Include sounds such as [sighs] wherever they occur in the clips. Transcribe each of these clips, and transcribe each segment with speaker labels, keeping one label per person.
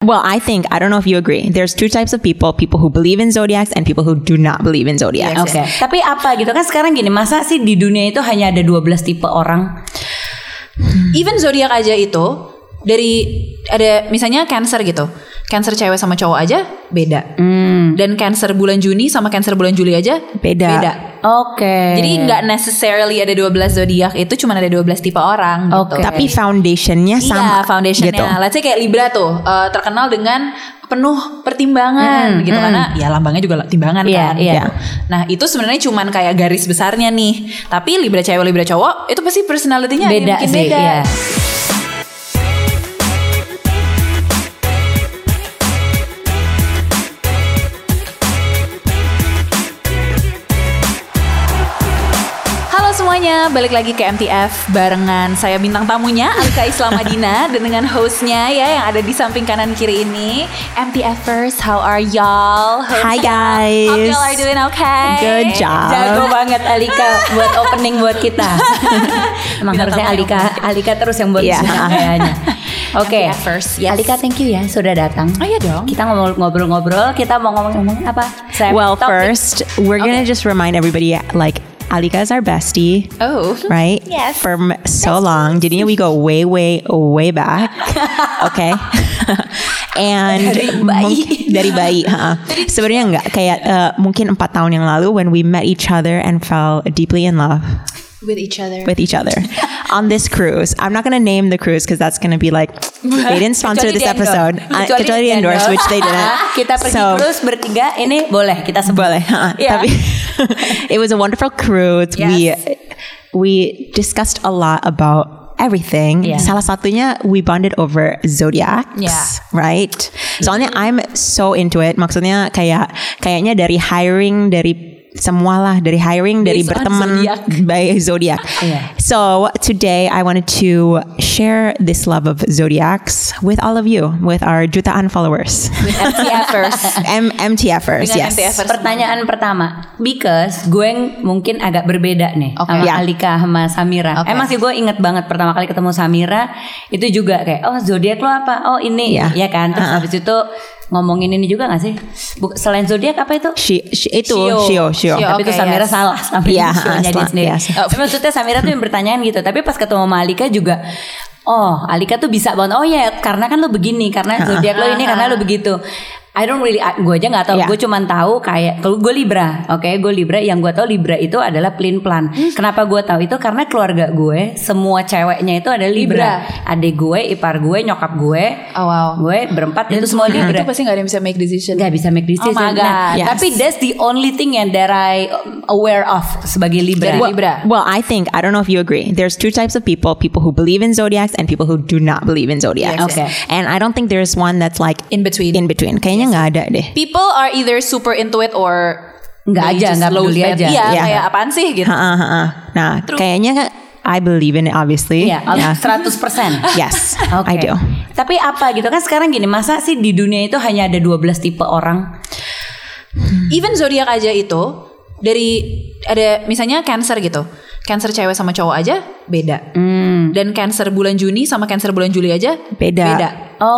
Speaker 1: Well, I think, I don't know if you agree. There's two types of people people who believe in zodiacs and people who do not believe in zodiacs.
Speaker 2: Oke.
Speaker 3: Iya Tapi apa gitu kan sekarang gini, masa sih di dunia itu hanya ada 12 tipe orang?
Speaker 2: Even zodiak aja itu dari ada misalnya Cancer gitu. Cancer cewek sama cowok aja beda. Dan Cancer bulan Juni sama Cancer bulan Juli aja
Speaker 1: Beda.
Speaker 2: Beda.
Speaker 3: Oke.
Speaker 2: Jadi nggak necessarily ada 12 zodiak itu cuma ada 12 tipe orang gitu.
Speaker 3: Oke.
Speaker 1: Tapi foundationnya Eh, sama.
Speaker 2: Iya foundationnya
Speaker 1: Gitu.
Speaker 2: Let's say kayak Libra tuh eh, Terkenal dengan penuh pertimbangan gitu Karena ya lambangnya juga timbangan
Speaker 3: Iya,
Speaker 2: kan
Speaker 3: iya.
Speaker 2: gitu. Nah itu sebenarnya cuman kayak garis besarnya nih Tapi Libra cewek, Libra cowok Itu pasti personalitinya ada yang
Speaker 3: beda
Speaker 2: bikin
Speaker 3: sih,
Speaker 2: beda.
Speaker 3: iya.
Speaker 2: Halo semuanya, balik lagi ke MTF barengan saya bintang tamunya Alika Islam
Speaker 3: [laughs]
Speaker 2: Adina dan dengan hostnya ya yang ada di samping kanan kiri ini MTFers, how are y'all? [laughs] Hope-
Speaker 1: Hi
Speaker 2: Hope
Speaker 1: guys.
Speaker 2: y'all are doing okay.
Speaker 1: Good job.
Speaker 3: Jago banget Alika [laughs] buat opening buat kita. Emang
Speaker 2: Bintang
Speaker 3: harusnya
Speaker 2: tamu
Speaker 3: Alika Alika terus yang buat
Speaker 1: Iya.
Speaker 3: kita
Speaker 2: [laughs]
Speaker 3: kayaknya. Oke.
Speaker 2: MTF first, yes.
Speaker 3: Alika thank you ya sudah datang.
Speaker 2: Oh iya dong.
Speaker 3: Kita ngomong- ngobrol-ngobrol, kita mau ngomong-ngomong apa? Sam?
Speaker 1: Well,
Speaker 3: Topik.
Speaker 1: first, we're going to just remind everybody like, Alika is our bestie.
Speaker 2: Oh.
Speaker 1: Mm-hmm. right?
Speaker 3: Yes.
Speaker 1: From so long. Jadinya we go way, way, way
Speaker 3: [laughs]
Speaker 1: back. okay. [laughs] And
Speaker 3: Dari bayi.
Speaker 1: mungkin- dari bayi, ha. Sebenarnya enggak kayak eh, mungkin empat tahun yang lalu when we met each other and fell deeply in love
Speaker 2: With each other.
Speaker 1: with each other on this cruise. I'm not going to name the cruise because that's going to be like they didn't sponsor
Speaker 3: Kecuali
Speaker 1: this
Speaker 3: di endorse.
Speaker 1: episode. Uh,
Speaker 3: Kecuali
Speaker 1: Kecuali
Speaker 3: di
Speaker 1: di endorse,
Speaker 3: endorse.
Speaker 1: which they didn't.
Speaker 3: [laughs] kita pergi
Speaker 1: So-
Speaker 3: terus bertiga ini boleh kita
Speaker 1: [laughs]
Speaker 3: sebut.
Speaker 1: Boleh, ha.
Speaker 3: Yeah.
Speaker 1: Tapi [laughs] it was a wonderful cruise. We we discussed a lot about everything.
Speaker 3: Yeah.
Speaker 1: Salah satunya we bonded over zodiacs,
Speaker 2: Yeah.
Speaker 1: right? Soalnya I'm so into it. Maksudnya kayak kayaknya dari hiring dari semualah dari hiring dari
Speaker 2: Based on
Speaker 1: berteman
Speaker 2: zodiac.
Speaker 1: [laughs] by zodiac.
Speaker 3: Yeah.
Speaker 1: So today I wanted to share this love of zodiacs with all of you, with our jutaan followers,
Speaker 3: MTFers.
Speaker 1: [laughs] M- MTFers,
Speaker 2: Dengan
Speaker 1: yes.
Speaker 2: MTFers.
Speaker 3: Pertanyaan pertama, because gue ng- mungkin agak berbeda nih
Speaker 2: Oke.
Speaker 3: sama
Speaker 1: Ya.
Speaker 3: Alika sama Samira.
Speaker 2: Oke.
Speaker 3: Emang sih gue inget banget pertama kali ketemu Samira itu juga kayak oh zodiak lo apa? Oh ini
Speaker 1: Ya.
Speaker 3: ya kan. Terus habis itu ngomongin ini juga gak sih? Bu- selain zodiak apa itu?
Speaker 1: She, she, eh, itu
Speaker 3: Shio.
Speaker 1: Shio, Shio.
Speaker 2: Shio.
Speaker 3: Tapi
Speaker 2: Oke,
Speaker 3: itu Samira
Speaker 2: yes.
Speaker 3: salah Samira
Speaker 1: Iya,
Speaker 3: Shio-nya
Speaker 1: salah,
Speaker 3: dia sendiri.
Speaker 1: yes.
Speaker 3: Tapi maksudnya Samira tuh yang bertanyaan gitu. Tapi pas ketemu sama Alika juga Oh, Alika tuh bisa banget. Oh ya, karena kan lo begini, karena zodiak lo ini, karena lo begitu. I don't really, gue aja nggak tahu.
Speaker 1: Iya.
Speaker 3: Gue cuman tahu kayak kalau gue Libra, oke, gue Libra. Yang gue tahu Libra itu adalah pelin plan.
Speaker 1: Hmm.
Speaker 3: Kenapa gue tahu itu? Karena keluarga gue semua ceweknya itu ada Libra. Adik gue, ipar gue, nyokap gue,
Speaker 2: Oh wow.
Speaker 3: gue berempat itu semua Libra
Speaker 2: Itu pasti nggak ada yang bisa make decision.
Speaker 3: nggak bisa make decision.
Speaker 2: Oh my God.
Speaker 3: Nah,
Speaker 1: Yes.
Speaker 3: Tapi that's the only thing yang that I um, aware of sebagai Libra.
Speaker 2: Dari
Speaker 1: Well,
Speaker 2: Libra.
Speaker 1: well, I think I don't know if you agree. There's two types of people: people who believe in zodiacs and people who do not believe in zodiacs.
Speaker 3: Yes, yes. Okay.
Speaker 1: And I don't think there's one that's like
Speaker 2: In between.
Speaker 1: In between, kayaknya nggak ada deh.
Speaker 2: People are either super into it or
Speaker 3: Nggak
Speaker 2: they
Speaker 3: aja,
Speaker 2: just
Speaker 3: nggak
Speaker 2: loathe
Speaker 3: peduli
Speaker 2: it.
Speaker 3: aja.
Speaker 2: Iya,
Speaker 1: Iya.
Speaker 2: kayak apaan sih gitu.
Speaker 1: Ha-ha, ha-ha. Nah, kayaknya I believe in it, obviously.
Speaker 3: Ya,
Speaker 1: Yeah.
Speaker 3: 100 persen.
Speaker 1: yes, Iya.
Speaker 2: [laughs]
Speaker 1: I do.
Speaker 3: Tapi apa gitu kan sekarang gini, masa sih di dunia itu hanya ada 12 tipe orang?
Speaker 2: Even zodiak aja itu dari ada misalnya Cancer gitu. Cancer cewek sama cowok aja beda.
Speaker 3: Mm.
Speaker 1: Hmm.
Speaker 2: Dan Cancer bulan Juni sama Cancer bulan Juli aja
Speaker 1: Beda.
Speaker 2: beda.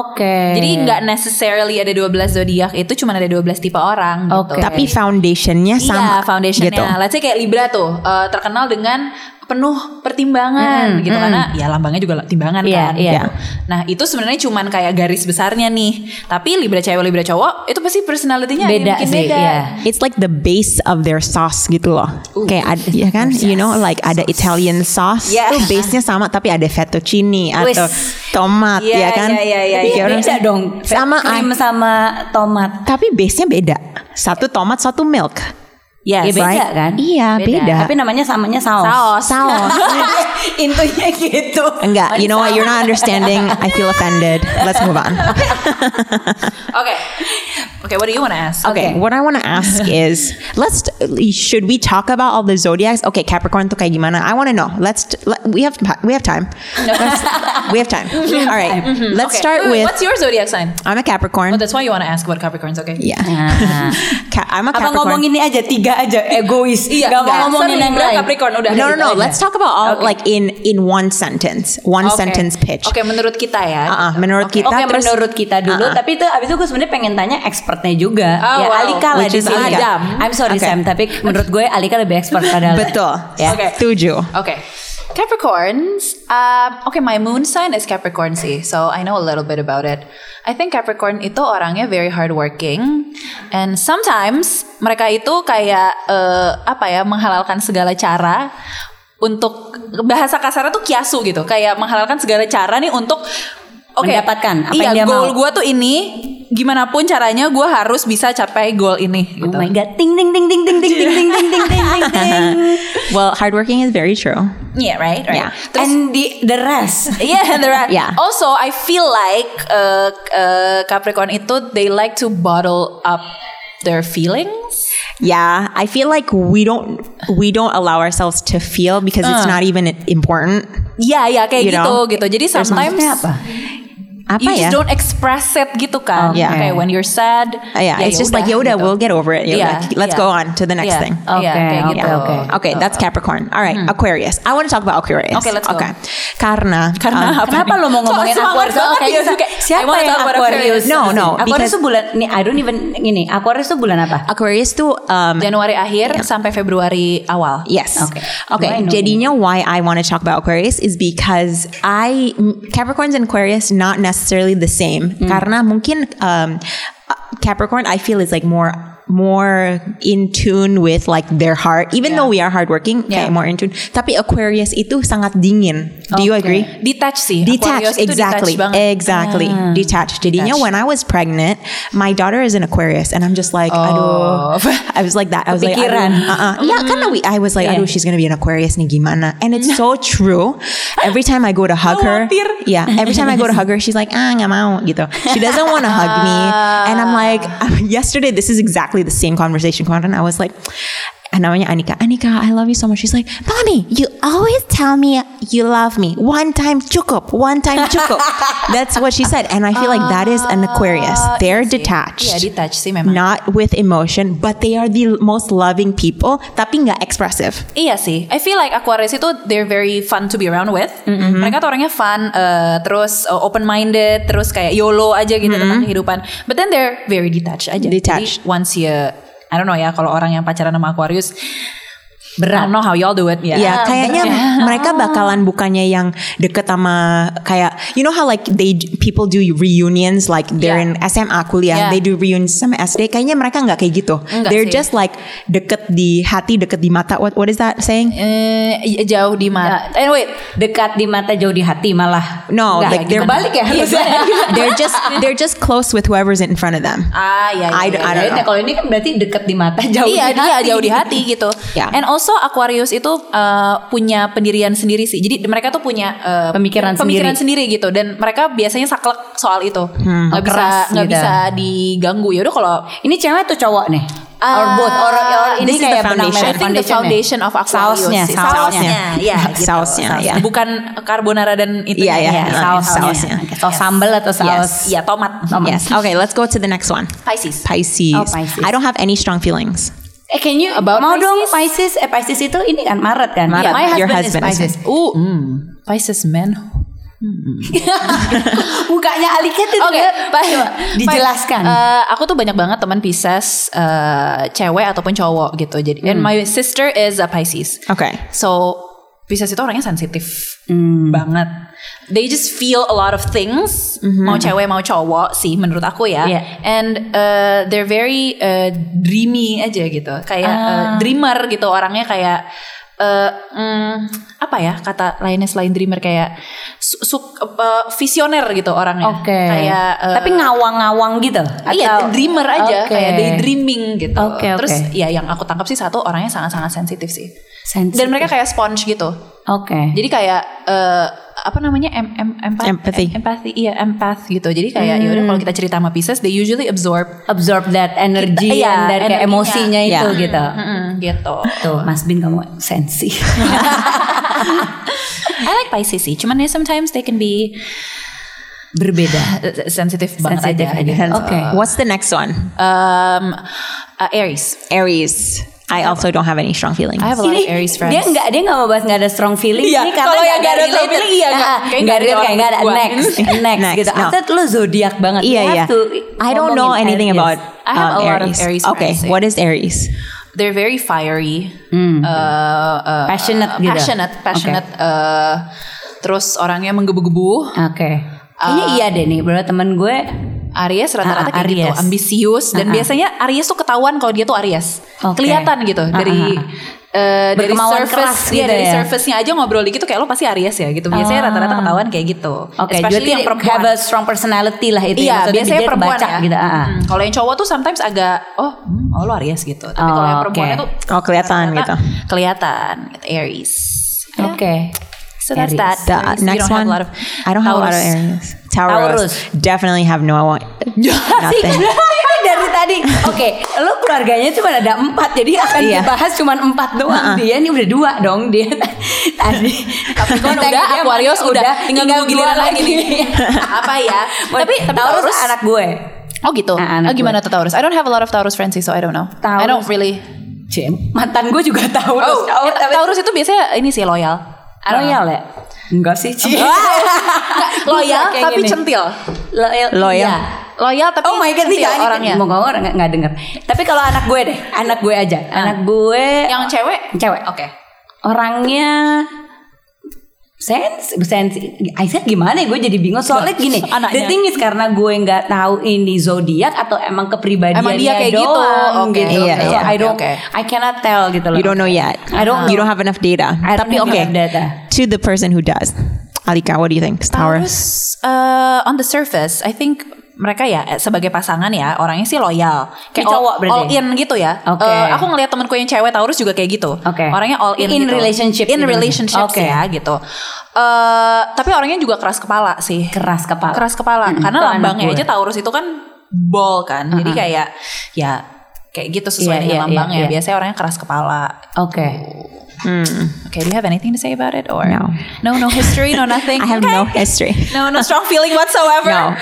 Speaker 3: Oke.
Speaker 2: Jadi nggak necessarily ada 12 zodiak itu cuma ada 12 tipe orang gitu.
Speaker 3: Oke.
Speaker 1: Tapi foundationnya Eh, sama.
Speaker 2: Iya, foundationnya.
Speaker 1: Gitu.
Speaker 2: Let's say kayak Libra tuh eh, terkenal dengan penuh pertimbangan gitu karena ya lambangnya juga timbangan
Speaker 3: Iya,
Speaker 2: kan.
Speaker 3: iya.
Speaker 2: gitu. Nah, itu sebenarnya cuman kayak garis besarnya nih. Tapi Libra cewek Libra cowok itu pasti personalitinya ada yang
Speaker 3: Beda
Speaker 2: bikin
Speaker 3: sih,
Speaker 2: beda.
Speaker 3: iya.
Speaker 1: It's like the base of their sauce gitu loh. Kayak ada, ya kan, you know, like ada Italian sauce
Speaker 2: Yeah.
Speaker 1: tuh base-nya sama tapi ada fettuccine
Speaker 3: Wis.
Speaker 1: atau tomat
Speaker 3: Iya,
Speaker 2: Yeah,
Speaker 1: ya kan.
Speaker 2: yeah, yeah, yeah,
Speaker 1: You get what I'm
Speaker 3: Beda
Speaker 1: saying?
Speaker 3: dong.
Speaker 1: Sama
Speaker 3: krim sama tomat.
Speaker 1: tapi base-nya beda. Satu tomat, satu milk.
Speaker 3: Ya,
Speaker 1: Yes,
Speaker 3: beda
Speaker 1: right?
Speaker 3: kan?
Speaker 1: Iya, beda.
Speaker 3: Tapi namanya samanya saus.
Speaker 2: Saos.
Speaker 1: Saus.
Speaker 3: [laughs] Intunya gitu.
Speaker 1: Enggak, you know what? You're not understanding. I feel offended. Let's move on.
Speaker 2: [laughs] Oke. Okay, what do you want to ask?
Speaker 1: Okay, what I want to ask is, let's should we talk about all the zodiacs? Okay, Capricorn tuh kayak gimana? I want to know. Let's let, we have we have time. Let's- we have time. All right, let's
Speaker 2: Okay,
Speaker 1: start
Speaker 2: wait, wait,
Speaker 1: with.
Speaker 2: What's your zodiac sign?
Speaker 1: I'm a
Speaker 2: Oh,
Speaker 1: Capricorn.
Speaker 2: that's why you want to ask about Capricorns. Okay. [laughs]
Speaker 1: yeah,
Speaker 3: Nah.
Speaker 1: Ca- I'm a
Speaker 3: Apa
Speaker 1: Capricorn.
Speaker 3: ngomong ini aja tiga aja egois.
Speaker 2: Iya,
Speaker 3: Gak mau
Speaker 2: enggak.
Speaker 3: ngomongin
Speaker 2: Sorry,
Speaker 3: yang
Speaker 2: Libra,
Speaker 3: lain.
Speaker 2: Capricorn, udah.
Speaker 1: no, no, no.
Speaker 2: Gitu aja.
Speaker 1: Let's talk about all
Speaker 3: eh, Okay.
Speaker 1: like in in one sentence, one
Speaker 2: Oke.
Speaker 1: sentence pitch.
Speaker 2: Oke, menurut kita ya.
Speaker 1: Ah, ah, menurut
Speaker 2: Oke,
Speaker 1: kita
Speaker 3: Oke
Speaker 1: terus
Speaker 3: menurut kita dulu,
Speaker 1: Ah, ah.
Speaker 3: tapi itu abis itu gue sebenarnya pengen tanya expertnya juga.
Speaker 2: Oh,
Speaker 3: ya
Speaker 2: wow.
Speaker 3: Alika lah
Speaker 1: Which
Speaker 3: di
Speaker 1: is
Speaker 3: sini.
Speaker 1: Alika.
Speaker 3: Adam. I'm sorry
Speaker 1: Oke.
Speaker 3: Sam, tapi menurut gue Alika lebih expert padahal.
Speaker 1: betul.
Speaker 3: Ya.
Speaker 2: Oke.
Speaker 1: Setuju.
Speaker 2: Okay. Capricorns. Um, okay, my moon sign is Capricorn sih, so I know a little bit about it. I think Capricorn itu orangnya very hardworking, and sometimes mereka itu kayak eh, apa ya menghalalkan segala cara untuk bahasa kasarnya tuh kiasu gitu, kayak menghalalkan segala cara nih untuk oke
Speaker 3: Mendapatkan apa
Speaker 2: iya,
Speaker 3: yang dia
Speaker 2: goal
Speaker 3: mau.
Speaker 2: gue tuh ini gimana pun caranya gue harus bisa capai goal ini.
Speaker 3: Oh
Speaker 2: Gitu.
Speaker 3: my god, ting ting ting ting ting ting ting ting ting ting ting ting.
Speaker 1: [laughs]
Speaker 3: ting.
Speaker 1: [laughs] Well, hardworking is very true.
Speaker 2: Yeah, right, right.
Speaker 1: Yeah.
Speaker 2: Terus-
Speaker 3: And the the rest.
Speaker 2: [laughs] Yeah, there are.
Speaker 1: Yeah.
Speaker 2: Also, I feel like uh, uh, Capricorn itu they like to bottle up their feelings.
Speaker 1: Yeah, I feel like we don't we don't allow ourselves to feel because
Speaker 2: Uh.
Speaker 1: it's not even important.
Speaker 2: Iya, iya kayak
Speaker 1: You
Speaker 2: gitu
Speaker 1: know?
Speaker 2: gitu. Jadi sometimes
Speaker 3: Maksudnya apa?
Speaker 1: Apa
Speaker 2: you
Speaker 1: ya?
Speaker 2: just don't express it gitu kan.
Speaker 3: Oh, yeah.
Speaker 2: Kayak when you're sad. ya gitu.
Speaker 1: Uh, yeah, it's just like Yoda. We'll get over it. You're like, let's go on to the next thing.
Speaker 2: Oke,
Speaker 3: Okay, okay,
Speaker 2: gitu.
Speaker 3: okay.
Speaker 1: Okay, that's Capricorn. All right, Aquarius. I want to talk about Aquarius.
Speaker 2: Uh, Hmm. Okay, let's go.
Speaker 1: Okay, karena
Speaker 2: Karena
Speaker 1: um,
Speaker 2: apa
Speaker 3: Kenapa
Speaker 2: nih?
Speaker 3: lo mau
Speaker 2: So,
Speaker 3: ngomongin
Speaker 2: semangat
Speaker 3: Aquarius?
Speaker 2: banget
Speaker 3: Oke,
Speaker 2: dia.
Speaker 3: sa-
Speaker 2: Kayak, I
Speaker 3: ya. Siapa
Speaker 2: wanna
Speaker 3: yang
Speaker 2: talk about
Speaker 3: Aquarius?
Speaker 2: Aquarius.
Speaker 1: No, no,
Speaker 3: Aquarius
Speaker 1: because-
Speaker 3: tuh bulan nih I don't even ini. Aquarius tuh bulan apa?
Speaker 1: Aquarius tuh um,
Speaker 2: Januari akhir sampai Februari awal.
Speaker 1: Yes.
Speaker 3: Okay. Do I
Speaker 1: Okay.
Speaker 3: know?
Speaker 1: Jadinya, why I want to talk about Aquarius is because I Capricorns and Aquarius not necessarily the same. Karena mungkin um, Capricorn I feel is like more more in tune with like their heart. Even though we are hardworking,
Speaker 2: Yeah.
Speaker 1: kayak more in tune. Tapi Aquarius itu sangat dingin. Do you agree?
Speaker 2: Detach sih.
Speaker 1: Detached,
Speaker 2: Aquarius itu detached
Speaker 1: exactly,
Speaker 2: banget.
Speaker 1: exactly, detached. Jadinya when I was pregnant, my daughter is an Aquarius, and I'm just like, aduh. [laughs] I was like that. I was
Speaker 3: Kepikiran.
Speaker 1: like, aduh, uh-uh. yeah, kind of. I was like,
Speaker 3: Yeah.
Speaker 1: aduh, she's gonna be an Aquarius nih gimana? And it's so true. Every time I go to hug her,
Speaker 2: Khawatir.
Speaker 1: yeah, every time I go to hug her, she's like, ah, nggak mau gitu. She doesn't want to hug me, and I'm like, [laughs] yesterday this is exactly the same conversation. Kemarin I was like. Namanya Anika. Anika, I love you so much. She's like, Mommy, you always tell me you love me. One time cukup, one time cukup. That's what she said. And I feel like that is an Aquarius. They're detached.
Speaker 2: Iya, detached sih memang.
Speaker 1: Not with emotion, but they are the most loving people, tapi nggak expressive.
Speaker 2: Iya sih, I feel like Aquarius itu they're very fun to be around with.
Speaker 1: Mm-hmm.
Speaker 2: Mereka tuh orangnya fun, eh, terus open minded, terus kayak YOLO aja gitu tentang kehidupan. But then they're very detached aja.
Speaker 1: Mm-hmm. Detached.
Speaker 2: Jadi once you, I don't know ya, kalau orang yang pacaran sama Aquarius, I
Speaker 3: Berat.
Speaker 2: don't know how y'all do it ya.
Speaker 1: Ya, kayaknya mereka
Speaker 2: Ah.
Speaker 1: bakalan bukannya yang deket sama kayak you know how like they people do reunions like they're
Speaker 2: Yeah.
Speaker 1: in SMA kuliah,
Speaker 2: Yeah.
Speaker 1: they do reunions sama SD. Kayaknya mereka nggak kayak gitu.
Speaker 2: Nggak
Speaker 1: they're
Speaker 2: sih.
Speaker 1: just like deket di hati, deket di mata. What what is that saying?
Speaker 2: Eh, jauh di mana?
Speaker 1: Ya.
Speaker 2: Eh wait,
Speaker 3: Dekat di mata jauh di hati malah.
Speaker 1: No,
Speaker 3: Nggak,
Speaker 1: like they're-
Speaker 3: kebalik ya
Speaker 2: Iya,
Speaker 3: harusnya.
Speaker 1: [laughs]
Speaker 3: [laughs]
Speaker 1: they're just they're just close with whoever's in front of them.
Speaker 2: ah
Speaker 1: I
Speaker 2: ya, ya, ya,
Speaker 1: don't- I
Speaker 2: ya.
Speaker 1: don't
Speaker 3: Jadi, Kalau ini kan berarti dekat di mata jauh
Speaker 2: iya,
Speaker 3: di hati.
Speaker 2: iya, jauh di hati gitu.
Speaker 1: Ya.
Speaker 2: And also Aquarius itu uh, punya pendirian sendiri sih. Jadi mereka tuh punya uh,
Speaker 3: Pemikiran
Speaker 2: pemikiran sendiri. gitu dan mereka biasanya saklek soal itu. Nggak bisa
Speaker 3: Keras
Speaker 2: nggak
Speaker 3: gitu.
Speaker 2: bisa diganggu. Ya udah kalau
Speaker 3: Ini cewek atau cowok nih? or
Speaker 2: Ah,
Speaker 3: both or, or ini
Speaker 1: this is the
Speaker 3: kayak benang merah
Speaker 1: foundation.
Speaker 2: I think the
Speaker 3: foundation-nya.
Speaker 2: foundation of Aquarius
Speaker 3: Sausnya,
Speaker 2: Ah, iya sih.
Speaker 3: sausnya.
Speaker 2: ya, gitu.
Speaker 1: Sausnya, ya.
Speaker 2: Bukan carbonara dan itu.
Speaker 1: Iya, iya.
Speaker 3: Ya,
Speaker 1: Nah, sausnya.
Speaker 3: sausnya. Oke, Saus sambal atau saus?
Speaker 2: Iya, tomat.
Speaker 1: Yes. Okay, let's go to the next one.
Speaker 2: Pisces.
Speaker 1: Pisces.
Speaker 3: Oh, Pisces.
Speaker 1: I don't have any strong feelings.
Speaker 3: Eh, can you
Speaker 2: About
Speaker 3: mau dong
Speaker 2: Pisces?
Speaker 3: Pisces? Eh, Pisces itu ini kan Maret kan?
Speaker 1: Maret.
Speaker 3: Iya, my husband,
Speaker 1: Your husband is-
Speaker 3: is Pisces.
Speaker 2: Uh,
Speaker 3: Hmm.
Speaker 2: Pisces man.
Speaker 3: [laughs] Mukanya kan? Alika tuh
Speaker 2: Oke,
Speaker 3: dia-
Speaker 2: Pak-
Speaker 3: Gitu, Coba
Speaker 2: Pak-
Speaker 3: dijelaskan.
Speaker 2: eh, aku tuh banyak banget teman Pisces, eh, cewek ataupun cowok gitu. Jadi, and
Speaker 3: Hmm.
Speaker 2: my sister is a Pisces.
Speaker 1: Okay.
Speaker 2: So Pisces itu orangnya sensitif
Speaker 3: Hmm.
Speaker 2: banget. They just feel a lot of things.
Speaker 3: Mm-hmm.
Speaker 2: Mau cewek mau cowok sih menurut aku ya.
Speaker 3: Iya.
Speaker 2: And uh, they're very uh, dreamy aja gitu. Kayak
Speaker 3: Ah.
Speaker 2: uh, dreamer gitu orangnya kayak uh, mm, apa ya kata lainnya selain dreamer kayak su- su- uh, visioner gitu orangnya.
Speaker 3: Oke.
Speaker 2: Kayak uh,
Speaker 3: Tapi ngawang-ngawang gitu atau
Speaker 2: Iya, dreamer aja
Speaker 3: Oke.
Speaker 2: kayak daydreaming gitu.
Speaker 3: Oke, oke.
Speaker 2: Terus ya yang aku tangkap sih satu orangnya sangat-sangat sensitif sih.
Speaker 3: Sensitif.
Speaker 2: Dan mereka kayak sponge gitu.
Speaker 3: Oke.
Speaker 2: Jadi kayak eh, apa namanya em, em, empath,
Speaker 1: Empathy.
Speaker 2: empathy iya empath gitu jadi kayak ya udah kalau kita cerita sama Pisces they usually absorb
Speaker 3: absorb that energy
Speaker 2: Kita- iya,
Speaker 3: and that kayak
Speaker 2: energinya.
Speaker 3: emosinya itu
Speaker 1: Iya.
Speaker 3: gitu.
Speaker 2: Mm-mm, gitu
Speaker 3: Tuh, Mas Bin kamu sensi.
Speaker 2: I like Pisces sih cuman ya sometimes they can be
Speaker 3: Berbeda.
Speaker 2: uh, [sighs] sensitive banget
Speaker 3: Sensitive
Speaker 2: aja
Speaker 3: aja.
Speaker 2: gitu.
Speaker 3: Oke.
Speaker 1: What's the next one?
Speaker 2: um, uh, Aries
Speaker 1: Aries. I also don't have any strong feelings.
Speaker 2: I have a lot of Aries friends
Speaker 3: Dia nggak dia nggak mau bahas nggak ada strong feeling
Speaker 2: Iya,
Speaker 3: ini karena
Speaker 2: kalau yang nggak ada strong
Speaker 3: related.
Speaker 2: feeling, iya,
Speaker 3: Ah,
Speaker 2: nggak- kayaknya
Speaker 3: nggak
Speaker 2: nggak
Speaker 3: relate
Speaker 2: ada
Speaker 3: kayak nggak ada
Speaker 2: orang
Speaker 3: next next,
Speaker 1: Next,
Speaker 3: gitu.
Speaker 1: no.
Speaker 3: Atau lo zodiak banget. You
Speaker 1: yeah,
Speaker 3: have
Speaker 1: yeah.
Speaker 3: to
Speaker 1: I don't know
Speaker 3: ngomongin
Speaker 1: anything
Speaker 3: Aries.
Speaker 1: about
Speaker 2: I have
Speaker 1: um,
Speaker 2: a lot of Aries
Speaker 1: Okay,
Speaker 2: friends, eh.
Speaker 1: what is Aries?
Speaker 2: they're very fiery uh, uh,
Speaker 3: Passionate gitu.
Speaker 2: passionate passionate uh, terus orangnya menggebu-gebu
Speaker 3: Oke.
Speaker 2: Uh,
Speaker 3: Kayaknya iya deh nih, bro temen gue.
Speaker 2: Aries
Speaker 3: Ah,
Speaker 2: rata-rata kayak gitu
Speaker 3: Aries. Ah,
Speaker 2: ambisius dan biasanya Aries tuh ketahuan kalau dia tuh Aries
Speaker 3: Oke.
Speaker 2: kelihatan gitu
Speaker 3: Ah,
Speaker 2: dari
Speaker 3: ah,
Speaker 2: eh, dari
Speaker 3: Berkemauan keras
Speaker 2: surface ya
Speaker 3: gitu
Speaker 2: dari
Speaker 3: ya.
Speaker 2: surface-nya aja ngobrol dikit tuh kayak lo pasti Aries ya gitu biasanya
Speaker 3: Ah.
Speaker 2: rata-rata ketahuan kayak gitu
Speaker 3: Oke,
Speaker 2: especially
Speaker 3: jadi
Speaker 2: yang perempuan
Speaker 3: have a strong personality lah itu. ya.
Speaker 2: Iya,
Speaker 3: Maksudnya
Speaker 2: biasanya
Speaker 3: dia
Speaker 2: perempuan
Speaker 3: kebaca
Speaker 2: ya.
Speaker 3: gitu. ah, ah.
Speaker 2: Hmm, kalau yang cowok tuh sometimes agak oh, hmm, oh lo Aries gitu. Tapi
Speaker 3: Oh,
Speaker 2: kalau yang perempuannya
Speaker 3: oke.
Speaker 2: tuh
Speaker 1: Oh, kelihatan
Speaker 2: ternyata
Speaker 1: gitu.
Speaker 2: Kelihatan gitu, Aries. Ya.
Speaker 3: Oke.
Speaker 2: So that's
Speaker 3: Oh, Aries.
Speaker 2: that.
Speaker 1: The
Speaker 2: Aries. You
Speaker 1: next
Speaker 2: don't
Speaker 1: one.
Speaker 2: have a lot of
Speaker 1: I don't have a lot of
Speaker 2: Taurus.
Speaker 1: Aries. Taurus. Definitely have no. I want
Speaker 3: Sih, [laughs]
Speaker 1: nothing.
Speaker 3: kan dari tadi. Oke, lo keluarganya cuma ada empat, jadi akan
Speaker 1: Iya.
Speaker 3: dibahas cuma empat doang. Dia ini udah dua dong
Speaker 2: [laughs]
Speaker 3: dia tadi.
Speaker 2: Capricorn
Speaker 3: Thank
Speaker 2: kan udah,
Speaker 3: you, dia
Speaker 2: Aquarius
Speaker 3: emang
Speaker 2: udah, tinggal nunggu
Speaker 3: dua
Speaker 2: giliran lagi [laughs] nih. [laughs] Apa ya? Tapi tapi
Speaker 3: Taurus,
Speaker 2: Taurus
Speaker 3: anak gue.
Speaker 2: Oh gitu.
Speaker 3: Ah, anak
Speaker 2: Oh, gimana
Speaker 3: gue.
Speaker 2: tuh Taurus? I don't have a lot of Taurus friends sih, so I don't know.
Speaker 3: Taurus.
Speaker 2: I don't really.
Speaker 3: Cie, mantan gue juga Taurus.
Speaker 2: Oh, eh, Taurus itu biasanya ini sih loyal. I don't know.
Speaker 3: Royal ya? Enggak sih, Cie. [laughs]
Speaker 2: Loyal
Speaker 3: Kayak
Speaker 2: tapi
Speaker 3: gini.
Speaker 2: centil.
Speaker 3: Loyal.
Speaker 1: Loyal.
Speaker 3: iya.
Speaker 2: Loyal tapi
Speaker 3: Oh my god,
Speaker 2: centil
Speaker 3: tiga
Speaker 2: orangnya.
Speaker 3: orangnya. Mau ngomong orang nggak- nggak denger. Tapi kalau anak gue deh, anak gue aja.
Speaker 2: Ah.
Speaker 3: Anak gue
Speaker 2: Yang cewek?
Speaker 3: cewek.
Speaker 2: Oke.
Speaker 3: orangnya sense sense I said gimana ya gue jadi bingung soalnya gini
Speaker 2: Anaknya.
Speaker 3: the thing is karena gue nggak tahu ini zodiak atau emang kepribadiannya
Speaker 2: Emang dia kayak
Speaker 3: doang,
Speaker 2: gitu? Oke,
Speaker 3: gitu.
Speaker 1: iya,
Speaker 3: So,
Speaker 1: iya.
Speaker 3: I don't
Speaker 2: Oke, oke.
Speaker 3: I cannot tell gitu loh
Speaker 1: You don't know yet.
Speaker 3: I don't
Speaker 1: You don't have enough data.
Speaker 3: I don't
Speaker 1: Tapi
Speaker 3: have
Speaker 1: okay.
Speaker 3: enough data.
Speaker 1: To the person who does, Alika, what do you think? Taurus.
Speaker 2: Taurus uh, on the surface, I think mereka ya eh, sebagai pasangan ya orangnya sih loyal,
Speaker 3: Ini cowok
Speaker 2: all,
Speaker 3: berarti?
Speaker 2: all in gitu ya.
Speaker 3: Oke.
Speaker 2: Eh, aku ngeliat temanku yang cewek Taurus juga kayak gitu.
Speaker 3: Oke.
Speaker 2: Orangnya all in.
Speaker 3: In
Speaker 2: gitu.
Speaker 3: relationship
Speaker 2: In
Speaker 3: gitu.
Speaker 2: relationship
Speaker 3: Oke.
Speaker 2: ya gitu. Eh, tapi orangnya juga keras kepala sih.
Speaker 3: keras kepala
Speaker 2: Keras kepala. Karena
Speaker 3: itu anak
Speaker 2: lambangnya
Speaker 3: gue.
Speaker 2: aja Taurus itu kan ball kan. Jadi kayak ya kayak gitu
Speaker 3: Iya,
Speaker 2: sesuai dengan
Speaker 3: iya, iya,
Speaker 2: lambangnya.
Speaker 3: iya.
Speaker 2: Biasanya orangnya keras kepala.
Speaker 3: oke
Speaker 2: Okay, do you have anything to say about it or
Speaker 1: No.
Speaker 2: No, no history,
Speaker 3: [laughs]
Speaker 2: no nothing.
Speaker 1: I have
Speaker 2: Okay.
Speaker 1: no history.
Speaker 2: No, no strong feeling whatsoever.
Speaker 1: No.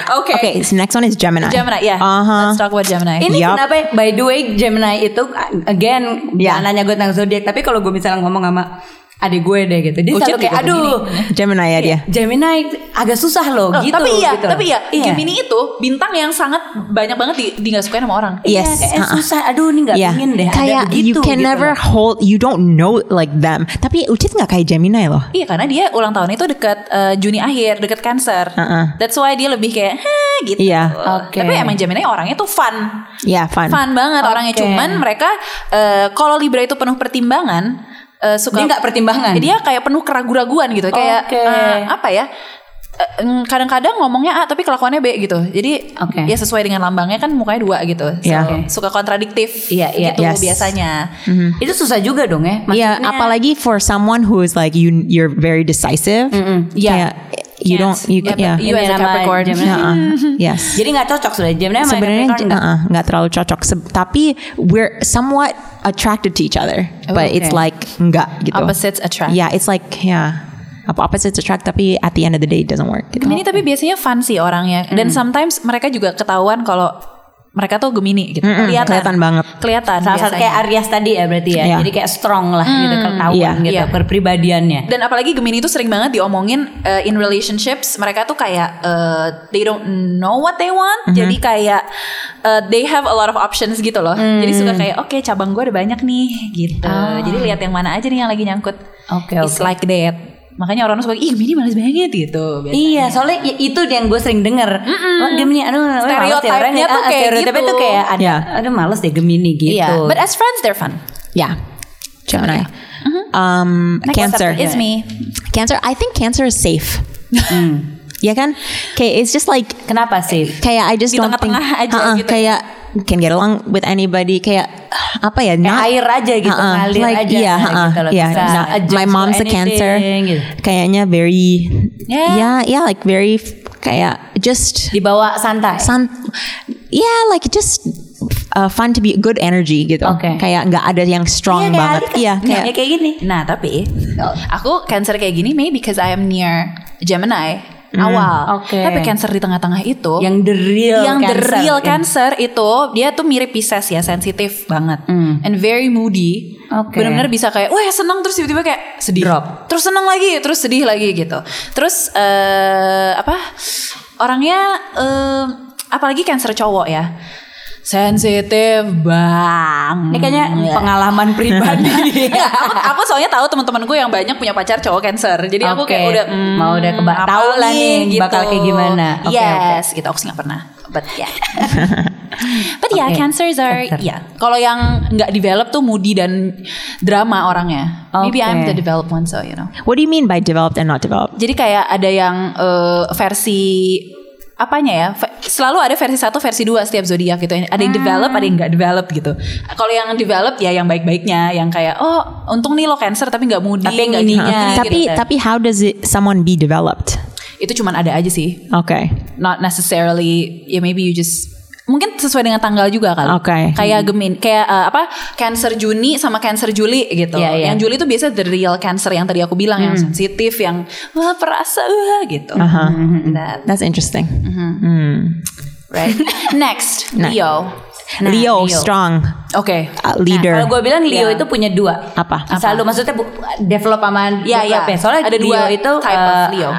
Speaker 1: Okay.
Speaker 2: Okay.
Speaker 1: So next one is Gemini.
Speaker 2: Gemini, yeah.
Speaker 1: Uh huh.
Speaker 2: Let's talk about Gemini.
Speaker 3: Uh-huh. Ini
Speaker 1: Yup.
Speaker 3: kenapa ya? By the way, Gemini itu again
Speaker 1: Ya.
Speaker 3: jangan nanya gue tentang zodiak, tapi kalau gue misalnya ngomong sama adik gue deh gitu, dia
Speaker 2: Ucet
Speaker 3: selalu kayak
Speaker 2: juga
Speaker 3: aduh,
Speaker 1: Gemini ya dia.
Speaker 3: Gemini agak susah loh
Speaker 2: Loh,
Speaker 3: gitu.
Speaker 2: tapi iya,
Speaker 3: gitu.
Speaker 2: tapi iya, Gemini itu bintang yang sangat banyak banget di, di nggak sukain sama orang.
Speaker 1: Yes.
Speaker 3: Iya, kayak, eh,
Speaker 1: Ha-ha.
Speaker 3: susah. Aduh, ini nggak
Speaker 1: Yeah.
Speaker 3: pingin deh. ada
Speaker 1: Kayak
Speaker 3: begitu,
Speaker 1: you can
Speaker 3: gitu
Speaker 1: never
Speaker 3: loh.
Speaker 1: hold. You don't know like them. Tapi Ucit nggak kayak Gemini loh.
Speaker 2: Iya, karena dia ulang tahun itu dekat eh, Juni akhir, dekat Cancer.
Speaker 1: Heeh.
Speaker 2: That's why dia lebih kayak "Hah," gitu.
Speaker 1: Iya.
Speaker 3: Uh-uh. Oke.
Speaker 2: Tapi emang Gemini orangnya tuh fun.
Speaker 1: Yeah. Fun.
Speaker 2: Fun banget orangnya
Speaker 3: Oke.
Speaker 2: cuman mereka eh, kalau Libra itu penuh pertimbangan eh, suka
Speaker 3: Dia nggak pertimbangan?
Speaker 2: Dia kayak penuh keraguan-raguan gitu. Kayak
Speaker 3: Oke.
Speaker 2: eh, apa ya? eh, mm, kadang-kadang ngomongnya A tapi kelakuannya B gitu. Jadi
Speaker 3: Oke.
Speaker 2: ya sesuai dengan lambangnya kan mukanya dua gitu. So,
Speaker 1: Iya.
Speaker 3: Oke.
Speaker 2: suka kontradiktif
Speaker 3: Iya, iya, Gitu.
Speaker 2: gitu
Speaker 1: yes.
Speaker 2: biasanya.
Speaker 3: Itu susah juga dong ya.
Speaker 1: Yeah,
Speaker 3: Maksudnya-
Speaker 1: Iya, apalagi for someone who is like you, you're very decisive.
Speaker 3: Yeah.
Speaker 1: Kayak, you
Speaker 2: Can't.
Speaker 1: don't, you,
Speaker 2: Yeah, but
Speaker 1: yeah,
Speaker 2: you as a
Speaker 3: Ini nama
Speaker 2: Capricorn.
Speaker 3: Gemini.
Speaker 1: Nuh-uh. [laughs] yes.
Speaker 3: Jadi nggak cocok sudah Gemini sama
Speaker 1: Sebenarnya
Speaker 3: Capricorn nggak?
Speaker 1: uh-uh, nggak terlalu cocok. Se- tapi we're somewhat attracted to each other,
Speaker 2: Oh,
Speaker 1: but
Speaker 2: okay.
Speaker 1: it's like enggak gitu.
Speaker 2: Opposites attract.
Speaker 3: Iya.
Speaker 1: Yeah, it's like yeah, apa opposites attract tapi at the end of the day it doesn't work. Gitu.
Speaker 2: Gemini tapi biasanya fun sih orangnya dan
Speaker 3: Mm.
Speaker 2: sometimes mereka juga ketahuan kalau mereka tuh Gemini gitu.
Speaker 3: Hmm,
Speaker 1: Mm-mm, kelihatan banget.
Speaker 2: Kelihatan
Speaker 3: Salah satu
Speaker 2: biasanya.
Speaker 3: kayak Aries tadi ya berarti ya.
Speaker 1: Iya.
Speaker 3: Jadi kayak strong lah gitu ketahuan
Speaker 1: Iya.
Speaker 3: gitu
Speaker 2: Iya.
Speaker 3: perpribadiannya.
Speaker 2: Dan apalagi Gemini itu sering banget diomongin uh, in relationships mereka tuh kayak uh, they don't know what they
Speaker 3: Mhm.
Speaker 2: want. Jadi kayak uh, they have a lot of options gitu loh.
Speaker 3: Hmm.
Speaker 2: Jadi suka kayak oke cabang gue ada banyak nih gitu. Jadi lihat yang mana aja nih yang lagi nyangkut.
Speaker 3: Ah. Oke,
Speaker 2: It's like that. Makanya orang-orang suka ih Gemini malas banget gitu. Biasanya.
Speaker 3: Iya, soalnya i- itu yang gue sering denger. Wah, Gemini, aduh, males deh
Speaker 2: Stereotipnya
Speaker 3: orangnya.
Speaker 2: tuh
Speaker 3: Ah,
Speaker 2: kayak
Speaker 3: stereotipnya
Speaker 2: gitu.
Speaker 3: tuh kayak ada,
Speaker 1: Iya.
Speaker 3: aduh males deh Gemini gitu.
Speaker 2: Iya. But as friends they're fun.
Speaker 1: Yeah, Gemini,
Speaker 3: Mm-hmm.
Speaker 1: um,
Speaker 2: Next
Speaker 1: Cancer.
Speaker 2: up is me.
Speaker 1: Cancer, I think Cancer is safe.
Speaker 3: [laughs] Mm.
Speaker 1: Ya kan? Okay, it's just like
Speaker 3: ah, Kenapa sih?
Speaker 1: kayak I just
Speaker 2: Di
Speaker 1: don't think
Speaker 2: tengah-tengah aja
Speaker 1: Ha-ha,
Speaker 2: gitu.
Speaker 1: kayak can get along with anybody kayak apa ya
Speaker 3: Kayak air aja gitu,
Speaker 1: Ha-ha,
Speaker 3: ngalir aja
Speaker 1: yeah,
Speaker 3: gitu
Speaker 1: ha-ha,
Speaker 3: loh,
Speaker 1: yeah.
Speaker 3: bisa
Speaker 1: Nah,
Speaker 3: adjust
Speaker 1: my
Speaker 3: to
Speaker 1: mom's a
Speaker 3: anything,
Speaker 1: cancer
Speaker 3: gitu.
Speaker 1: kayaknya very
Speaker 3: Yeah.
Speaker 1: yeah yeah like very f- kayak just
Speaker 3: dibawa santai.
Speaker 1: sun yeah like just uh, fun to be good energy gitu
Speaker 3: Okay.
Speaker 1: kayak nggak ada yang strong banget
Speaker 3: Iya,
Speaker 1: iya
Speaker 3: kayak,
Speaker 1: kayak
Speaker 3: kayak gini. Nah, tapi
Speaker 2: Aku cancer kayak gini maybe because I am near Gemini awal.
Speaker 3: Hmm. oke.
Speaker 2: Tapi cancer di tengah-tengah itu
Speaker 3: yang the real
Speaker 2: yang the
Speaker 3: cancer. Iya.
Speaker 2: real cancer itu dia tuh mirip Pisces ya, sensitif banget and very moody.
Speaker 3: Hmm. Oke.
Speaker 2: Benar-benar bisa kayak wah senang terus tiba-tiba kayak sedih.
Speaker 3: Drop.
Speaker 2: Terus senang lagi, terus sedih lagi gitu. Terus eh apa? Orangnya eh, apalagi cancer cowok ya. Sensitif bang.
Speaker 3: Ini kan kayaknya pengalaman [laughs] pribadi.
Speaker 2: Iya, aku, aku soalnya tahu teman-temanku yang banyak punya pacar cowok cancer. Jadi aku
Speaker 3: Oke,
Speaker 2: kayak udah hmm,
Speaker 3: mau udah keba-
Speaker 2: apa
Speaker 3: tahu lah nih bakal kayak gimana. Oke,
Speaker 2: yes, gitu aku sih nggak pernah. But
Speaker 3: [laughs]
Speaker 2: yeah. But yeah,
Speaker 3: Oke,
Speaker 2: cancers are
Speaker 3: cancer.
Speaker 2: yeah. Kalau yang nggak develop tuh moody dan drama orangnya. Maybe
Speaker 3: Oke.
Speaker 2: I'm the developed one so you know.
Speaker 1: what do you mean by developed and not developed
Speaker 2: Jadi kayak ada yang eh, versi apanya ya? ve- Selalu ada versi satu, versi dua setiap zodiak gitu. Ada yang develop, ada yang nggak develop gitu. Kalau yang develop ya yang baik-baiknya, yang kayak oh untung nih lo cancer tapi nggak moody,
Speaker 3: Tapi yang
Speaker 2: nggak
Speaker 3: ininya,
Speaker 2: gini-gini
Speaker 1: Uh,
Speaker 2: gitu.
Speaker 1: tapi tapi how does it someone be developed
Speaker 2: itu cuman ada aja sih.
Speaker 1: okay
Speaker 2: Not necessarily, ya maybe you just mungkin sesuai dengan tanggal juga kali.
Speaker 1: Oke.
Speaker 2: Kayak gemin, kayak eh, apa? Cancer Juni sama Cancer Juli gitu.
Speaker 3: Iya, iya. Hmm.
Speaker 2: Yang Juli itu biasa the real cancer yang tadi aku bilang yang sensitif, yang wah perasa wah gitu.
Speaker 1: Aha.
Speaker 3: Mm-hmm.
Speaker 2: That-
Speaker 1: uh-huh. that's interesting Hmm.
Speaker 3: [laughs]
Speaker 2: Right. Next,
Speaker 1: Nah.
Speaker 2: Leo.
Speaker 3: Nah,
Speaker 1: Leo,
Speaker 3: Leo.
Speaker 1: strong
Speaker 2: Oke.
Speaker 1: uh, leader
Speaker 3: Kalau gue bilang Leo
Speaker 2: Iya.
Speaker 3: itu punya dua.
Speaker 1: Apa?
Speaker 3: Selalu maksudnya bu, develop sama
Speaker 2: Iya,
Speaker 3: develop
Speaker 2: iya.
Speaker 3: ya. Soalnya
Speaker 2: Ada
Speaker 3: Leo
Speaker 2: dua
Speaker 3: itu
Speaker 2: type of Leo.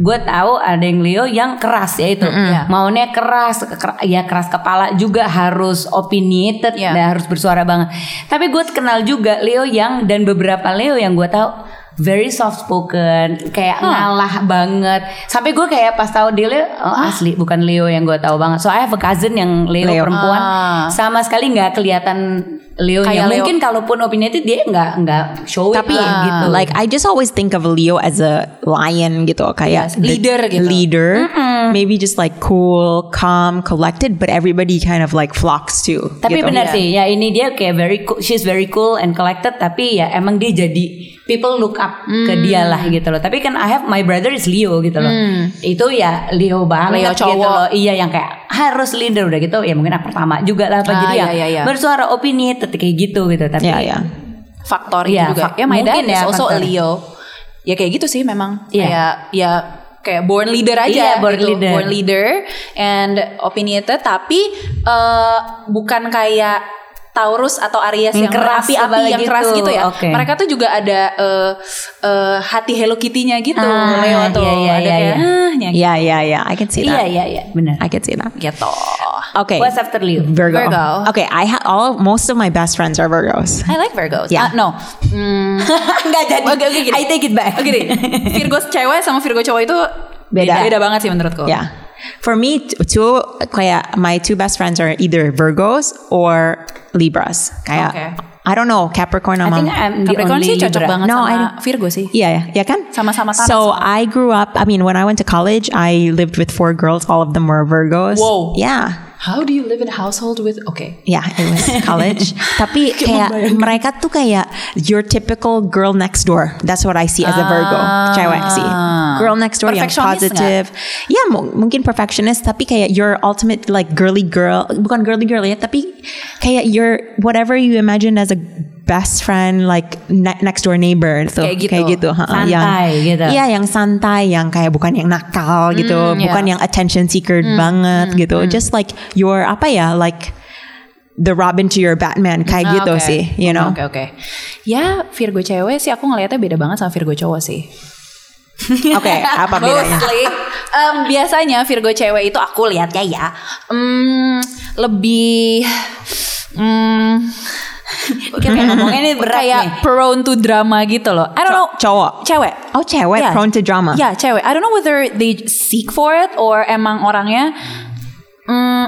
Speaker 3: Gue tahu ada yang Leo yang keras ya itu.
Speaker 2: Iya.
Speaker 3: Maunya keras, ke- ker- ya keras kepala juga harus opinionated
Speaker 2: Iya.
Speaker 3: dan harus bersuara banget. Tapi gue kenal juga Leo yang dan beberapa Leo yang gue tahu very soft spoken, kayak ngalah banget. Sampai gue kayak pas tahu dia Leo, oh, asli bukan Leo yang gue tahu banget. So I have a cousin yang Leo,
Speaker 1: Leo.
Speaker 3: perempuan
Speaker 2: Ah.
Speaker 3: sama sekali nggak kelihatan Leo
Speaker 2: Kayak Leo.
Speaker 3: mungkin kalaupun opini itu dia nggak nggak show it
Speaker 1: tapi
Speaker 3: lah gitu
Speaker 1: Uh, like I just always think of Leo as a lion gitu kayak
Speaker 2: Yes, leader
Speaker 1: the
Speaker 2: gitu.
Speaker 1: leader maybe just like cool calm collected but everybody kind of like flocks to
Speaker 3: tapi
Speaker 1: gitu.
Speaker 3: benar
Speaker 2: Iya.
Speaker 3: sih ya ini dia kayak very cool, she's very cool and collected tapi ya emang dia jadi people look up ke
Speaker 2: Hmm.
Speaker 3: dia lah gitu loh tapi kan I have my brother is Leo gitu loh itu ya Leo banget
Speaker 2: Hmm. Leo cowok.
Speaker 3: gitu loh iya yang kayak harus leader udah gitu ya mungkin anak pertama juga lah apa
Speaker 2: Ah,
Speaker 3: jadi ya
Speaker 2: iya, iya, iya.
Speaker 3: bersuara opini tetep kayak gitu gitu tapi
Speaker 1: yeah yeah
Speaker 2: Faktor
Speaker 3: Iya,
Speaker 2: itu juga.
Speaker 3: fak-
Speaker 2: ya my dad
Speaker 3: mungkin
Speaker 2: is
Speaker 3: ya
Speaker 2: also a
Speaker 3: faktor.
Speaker 2: Leo. Ya kayak gitu sih memang.
Speaker 3: Iya.
Speaker 2: Kayak ya kayak born leader aja
Speaker 3: Iya, born
Speaker 2: gitu.
Speaker 3: leader.
Speaker 2: Born leader and opinionated tapi eh, bukan kayak Taurus atau Aries
Speaker 3: Yang
Speaker 2: yang,
Speaker 3: keras
Speaker 2: berapi-api
Speaker 3: kepala
Speaker 2: yang keras
Speaker 3: gitu,
Speaker 2: gitu ya.
Speaker 3: oke.
Speaker 2: Mereka tuh juga ada eh, eh, hati Hello Kitty-nya gitu.
Speaker 3: Ah,
Speaker 2: Leo tuh
Speaker 3: iya, iya,
Speaker 2: ada
Speaker 3: iya,
Speaker 2: kayak "Ah,
Speaker 3: iya.
Speaker 2: ahnya
Speaker 1: yeah yeah yeah I can see
Speaker 3: iya
Speaker 1: that
Speaker 3: iya iya benar
Speaker 1: I can see that
Speaker 2: gitu.
Speaker 1: okay
Speaker 3: what's after Leo
Speaker 1: Virgo.
Speaker 2: Virgo.
Speaker 1: okay I have all most of my best friends are Virgos
Speaker 2: I like Virgos.
Speaker 1: Yeah.
Speaker 2: Ah, no. [laughs] Hmm,
Speaker 3: nggak jadi
Speaker 2: Oke, oke, gini.
Speaker 3: I take it back
Speaker 2: Oke deh, Virgo cewek sama Virgo cowok itu
Speaker 1: Beda.
Speaker 2: beda banget sih menurutku.
Speaker 1: Yeah. For me, t- two kayak my two best friends are either Virgos or Libras. Kayak
Speaker 2: Okay. um,
Speaker 1: I don't know Capricorn.
Speaker 3: I
Speaker 1: among-
Speaker 3: think I'm the
Speaker 2: Capricorn
Speaker 3: only
Speaker 2: sih cocok
Speaker 3: Libra.
Speaker 2: banget
Speaker 1: No, I
Speaker 2: sama
Speaker 1: don't-
Speaker 2: Virgo sih.
Speaker 1: Yeah, yeah, yeah, kan?
Speaker 2: Sama-sama Taras
Speaker 1: So I grew up. I mean, when I went to college, I lived with four girls. All of them were Virgos.
Speaker 2: Wow.
Speaker 1: Yeah.
Speaker 2: How do you live in a household with Okay.
Speaker 1: Yeah, it
Speaker 2: [laughs]
Speaker 1: was college. Tapi kayak mereka tuh kayak your typical girl next door. That's what I see as a Virgo cewek
Speaker 2: Ah.
Speaker 1: sih. Girl next door yang
Speaker 2: Perfeksionis
Speaker 1: positive. Ya mu- mungkin perfectionist tapi kayak your ultimate like girly girl, bukan girly girl ya, tapi kayak your whatever you imagine as a best friend like ne- next door neighbor tuh.
Speaker 2: Kayak gitu.
Speaker 1: ha-ha,
Speaker 3: Santai
Speaker 1: yang,
Speaker 3: gitu.
Speaker 1: Iya, yang santai, yang kayak bukan yang nakal
Speaker 2: Hmm,
Speaker 1: gitu, bukan yang attention seeker banget gitu. Just like your apa ya, like the Robin to your Batman kayak
Speaker 2: Ah,
Speaker 1: gitu
Speaker 2: oke.
Speaker 1: sih, you know.
Speaker 2: Oke, oke. Ya, Virgo cewek sih aku ngelihatnya beda banget sama Virgo cowok sih.
Speaker 1: Oke, apa bedanya?
Speaker 2: Mostly. Em, biasanya Virgo cewek itu aku lihatnya ya em, lebih em, [laughs]
Speaker 3: Kayak ngomongnya ini berat
Speaker 2: kayak
Speaker 3: nih.
Speaker 2: prone to drama gitu loh. I don't know.
Speaker 1: Cowok.
Speaker 2: Cewek.
Speaker 1: Oh, cewek
Speaker 2: Yeah.
Speaker 1: prone to drama.
Speaker 2: Ya, cewek. I don't know whether they seek for it or emang orangnya mm,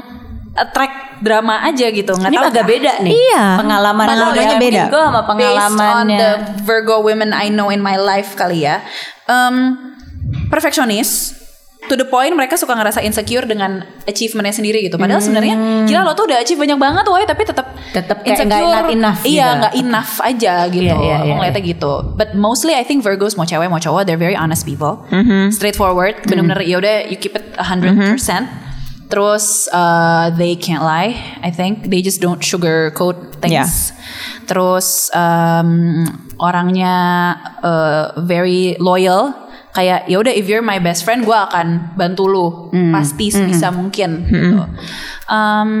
Speaker 2: attract drama aja gitu. Nggak
Speaker 3: Ini
Speaker 2: tahu
Speaker 3: agak beda nih.
Speaker 1: Iya.
Speaker 3: Pengalaman gitu.
Speaker 1: Pengalamannya beda.
Speaker 3: ya, Gue sama pengalamannya.
Speaker 2: Based on the Virgo women I know in my life kali ya. Um, perfectionist. to the point mereka suka ngerasa insecure dengan achievementnya sendiri gitu. Padahal sebenarnya gila lo tuh udah achieve banyak banget woy tapi tetap
Speaker 3: Hmm. Tetep kayak nggak not enough
Speaker 2: Iya,
Speaker 3: gitu.
Speaker 2: nggak enough aja gitu.
Speaker 3: Iya, iya,
Speaker 2: Aku
Speaker 3: iya,
Speaker 2: ngeliatnya gitu. But mostly I think Virgos mau cewek mau cowok they're very honest people.
Speaker 3: Mm-hmm.
Speaker 2: Straightforward, bener-bener ya udah you keep it 100%. Terus uh, they can't lie, I think. They just don't sugarcoat things.
Speaker 1: Yeah.
Speaker 2: Terus um, orangnya uh, very loyal. Kayak ya udah if you're my best friend, gue akan bantu lu
Speaker 1: Hmm.
Speaker 2: pasti sebisa mungkin. Gitu. Um,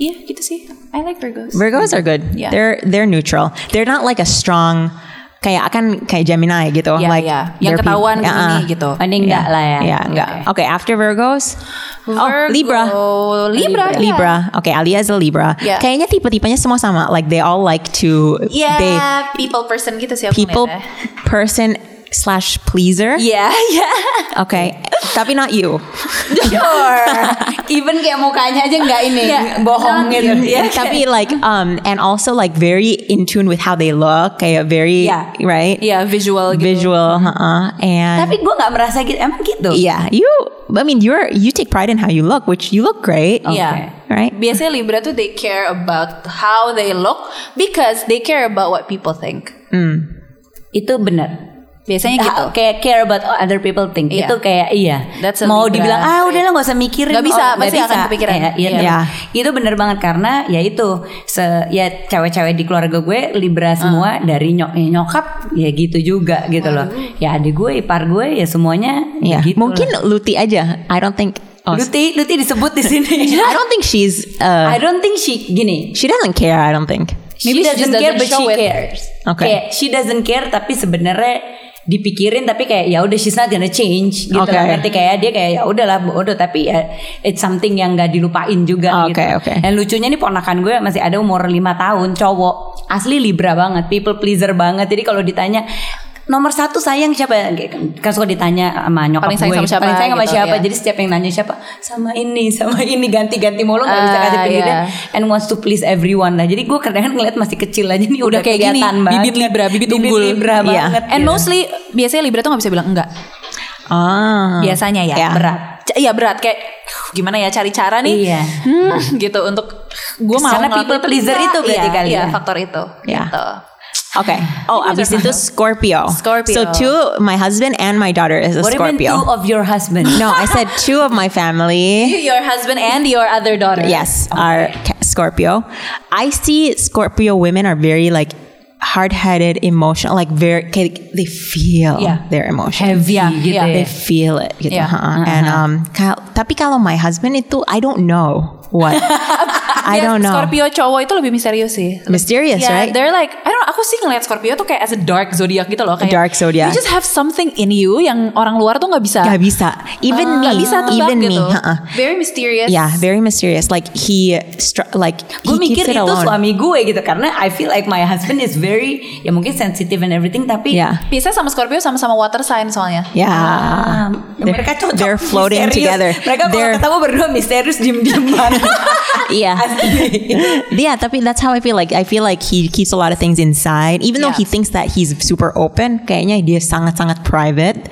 Speaker 2: Iya gitu sih. I like Virgos.
Speaker 1: Virgos are good.
Speaker 2: Yeah.
Speaker 1: They're they're neutral. They're not like a strong kayak akan kayak Gemini gitu.
Speaker 2: Yeah,
Speaker 1: like
Speaker 2: yeah. Iya, Yang
Speaker 1: they're peop-
Speaker 2: ketahuan
Speaker 1: Yeah,
Speaker 2: kesini
Speaker 1: uh.
Speaker 2: gitu.
Speaker 3: Ini enggak lah ya.
Speaker 1: Yeah, Iya, enggak. Okay. after Virgos. oh, Libra.
Speaker 2: Virgo- Libra. iya.
Speaker 1: Libra.
Speaker 2: yeah.
Speaker 1: Okay, Alia is a Libra.
Speaker 2: Yeah.
Speaker 1: Kayaknya tipe-tipenya semua sama. Like they all like to
Speaker 2: Yeah,
Speaker 1: they
Speaker 2: Iya, people person gitu sih aku
Speaker 1: people
Speaker 2: ngeliatnya.
Speaker 1: person slash pleaser.
Speaker 3: Iya,
Speaker 2: Yeah, [laughs] yeah.
Speaker 1: Okay. Tapi not you.
Speaker 3: Sure. [laughs] Even kayak mukanya aja nggak ini
Speaker 2: Iya.
Speaker 3: bohongin. Iya.
Speaker 2: Yeah.
Speaker 1: Tapi like um and also like very in tune with how they look. Kayak very
Speaker 3: Yeah.
Speaker 1: right?
Speaker 2: Yeah, visual gitu.
Speaker 1: Visual, uh-uh. and
Speaker 3: Tapi gue nggak merasa gitu. Emang gitu.
Speaker 1: Yeah, you. I mean, you're you take pride in how you look, which you look great.
Speaker 3: Iya.
Speaker 2: Yeah.
Speaker 1: Right.
Speaker 2: Biasanya Libra tuh they care about how they look because they care about what people think.
Speaker 3: Itu benar.
Speaker 2: Biasanya
Speaker 1: Ah,
Speaker 3: Ha-
Speaker 2: gitu.
Speaker 3: Kayak care about what other people think.
Speaker 2: Iya.
Speaker 3: Itu kayak iya.
Speaker 2: That's a
Speaker 3: Mau
Speaker 2: Libra
Speaker 3: dibilang ah
Speaker 2: trait.
Speaker 3: udahlah nggak usah mikirin. Oh,
Speaker 2: Nggak bisa,
Speaker 3: nggak
Speaker 2: pasti akan kepikiran.
Speaker 3: Kayak, iya,
Speaker 2: Iya.
Speaker 3: bener.
Speaker 1: Iya.
Speaker 3: Itu bener banget karena ya itu se ya cewek-cewek di keluarga gue libra semua dari nyok eh, nyokap ya gitu juga gitu loh. Ya adik gue, ipar gue ya semuanya
Speaker 1: Yeah.
Speaker 3: ya
Speaker 1: Iya.
Speaker 3: gitu.
Speaker 1: Mungkin
Speaker 3: lah.
Speaker 1: Luti aja. I don't think. Oh,
Speaker 3: Luti Luti disebut di sini.
Speaker 1: I don't think she's. Uh,
Speaker 3: I don't think she gini.
Speaker 1: she doesn't care. I don't think.
Speaker 3: Maybe she,
Speaker 2: just
Speaker 3: doesn't, care but she
Speaker 2: show it.
Speaker 3: cares.
Speaker 1: Okay.
Speaker 3: Kayak she doesn't care tapi sebenarnya dipikirin tapi kayak ya udah she's not gonna change gitu
Speaker 1: Okay.
Speaker 3: loh. Ngerti kayak dia kayak ya udahlah bodoh tapi ya it's something yang gak dilupain juga gitu.
Speaker 1: Okay, okay.
Speaker 3: Dan lucunya nih ponakan gue masih ada umur 5 tahun cowok. Asli Libra banget, people pleaser banget. Jadi kalau ditanya Nomor satu sayang siapa? Kan suka ditanya sama nyokap
Speaker 2: Paling sayang
Speaker 3: gue.
Speaker 2: sama siapa,
Speaker 3: Paling sayang sama
Speaker 2: gitu,
Speaker 3: siapa?
Speaker 2: iya.
Speaker 3: Jadi setiap yang nanya siapa sama ini, sama ini ganti-ganti mulu nggak bisa
Speaker 2: Ah,
Speaker 3: kasih pilihan
Speaker 2: iya.
Speaker 3: and wants to please everyone lah. Jadi gue kadang ngeliat masih kecil aja nih udah,
Speaker 2: Udah kayak gini,
Speaker 3: kelihatan banget.
Speaker 2: bibit Libra, bibit unggul.
Speaker 3: Libra
Speaker 1: Iya. Hmm.
Speaker 3: banget.
Speaker 2: And mostly biasanya Libra tuh nggak bisa bilang enggak.
Speaker 1: Ah.
Speaker 2: Biasanya ya
Speaker 1: Yeah.
Speaker 2: berat. C- iya berat kayak "Huh, gimana ya cari cara nih.
Speaker 3: Iya.
Speaker 2: Hmm, gitu untuk gue mau
Speaker 3: Karena
Speaker 2: ngelakuin
Speaker 3: people
Speaker 2: tapi
Speaker 3: pleaser
Speaker 2: enggak.
Speaker 3: itu berarti
Speaker 2: Iya,
Speaker 3: kali
Speaker 2: iya,
Speaker 3: ya.
Speaker 2: faktor itu.
Speaker 1: Iya.
Speaker 2: Gitu. [sighs]
Speaker 1: Okay. Oh, abis itu Scorpio.
Speaker 2: Scorpio.
Speaker 1: So two, my husband and my daughter is a
Speaker 3: What even two
Speaker 1: Scorpio.
Speaker 3: of your husband?
Speaker 1: [laughs] No, I said two of my
Speaker 2: [laughs]
Speaker 1: family.
Speaker 2: Your husband and your other daughter.
Speaker 1: Yes, are ca- Scorpio. I see Scorpio women are very like hard-headed, emotional, like very kayak they feel
Speaker 2: Yeah.
Speaker 1: their emotions.
Speaker 3: Heavy
Speaker 2: Iya,
Speaker 3: gitu
Speaker 2: iya.
Speaker 3: ya.
Speaker 1: They feel it gitu.
Speaker 2: Yeah.
Speaker 1: ha.
Speaker 2: Uh-huh.
Speaker 1: And um, kal- tapi kalau my husband itu I don't know
Speaker 2: [laughs]
Speaker 1: what. I
Speaker 2: Bias-
Speaker 1: don't know.
Speaker 2: Iya, Scorpio cowok itu lebih misterius sih.
Speaker 1: Mysterious,
Speaker 2: Yeah,
Speaker 1: right?
Speaker 2: They're like, I don't know, aku sih ngeliat Scorpio tuh kayak as a dark zodiac gitu loh. Kayak,
Speaker 1: Dark zodiac.
Speaker 2: You just have something in you yang orang luar tuh nggak bisa.
Speaker 1: Gak bisa. Even me.
Speaker 2: Nggak Ah. bisa tebak
Speaker 1: even
Speaker 2: gitu.
Speaker 1: me. uh-uh. Ya. ha-ha.
Speaker 2: Very mysterious.
Speaker 1: Yeah, very mysterious. Like he str- like
Speaker 3: Gue
Speaker 1: he
Speaker 3: mikir
Speaker 1: keeps it
Speaker 3: itu
Speaker 1: alone.
Speaker 3: suami gue gitu karena I feel like my husband is very ya mungkin sensitive and everything tapi
Speaker 1: Yeah.
Speaker 2: Biasanya sama Scorpio sama-sama water sign soalnya.
Speaker 1: Yeah.
Speaker 3: Ah,
Speaker 1: They're-
Speaker 3: mereka cocok
Speaker 1: They're floating
Speaker 3: misterius.
Speaker 1: together.
Speaker 3: Mereka kalau
Speaker 1: They're-
Speaker 3: ketemu berdua misterius diem-dieman
Speaker 1: Yeah. [laughs] yeah, tapi that's how I feel like. I feel like he keeps a lot of things inside, even though
Speaker 2: Yeah.
Speaker 1: he thinks that he's super open. Kayaknya dia sangat sangat private,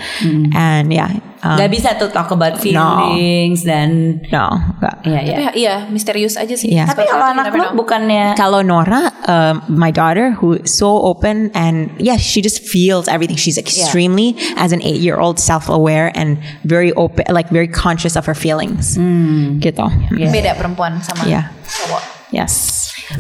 Speaker 1: and yeah, um,
Speaker 3: Gak bisa tuh talk about feelings dan
Speaker 1: no. nggak.
Speaker 3: Iya, iya.
Speaker 2: Tapi iya, misterius aja sih.
Speaker 1: Iya.
Speaker 3: Tapi
Speaker 2: Scorpio
Speaker 3: kalau
Speaker 2: tuh you
Speaker 3: anak
Speaker 2: never
Speaker 3: lu
Speaker 2: know.
Speaker 3: bukannya
Speaker 1: Kalau Nora, um, my daughter, who is so open and yeah, she just feels everything. She's extremely, as an eight-year-old, self-aware and very open, like very conscious of her feelings. Gitu.
Speaker 3: Iya.
Speaker 2: beda perempuan sama
Speaker 1: Yeah.
Speaker 2: cowok.
Speaker 1: Yes.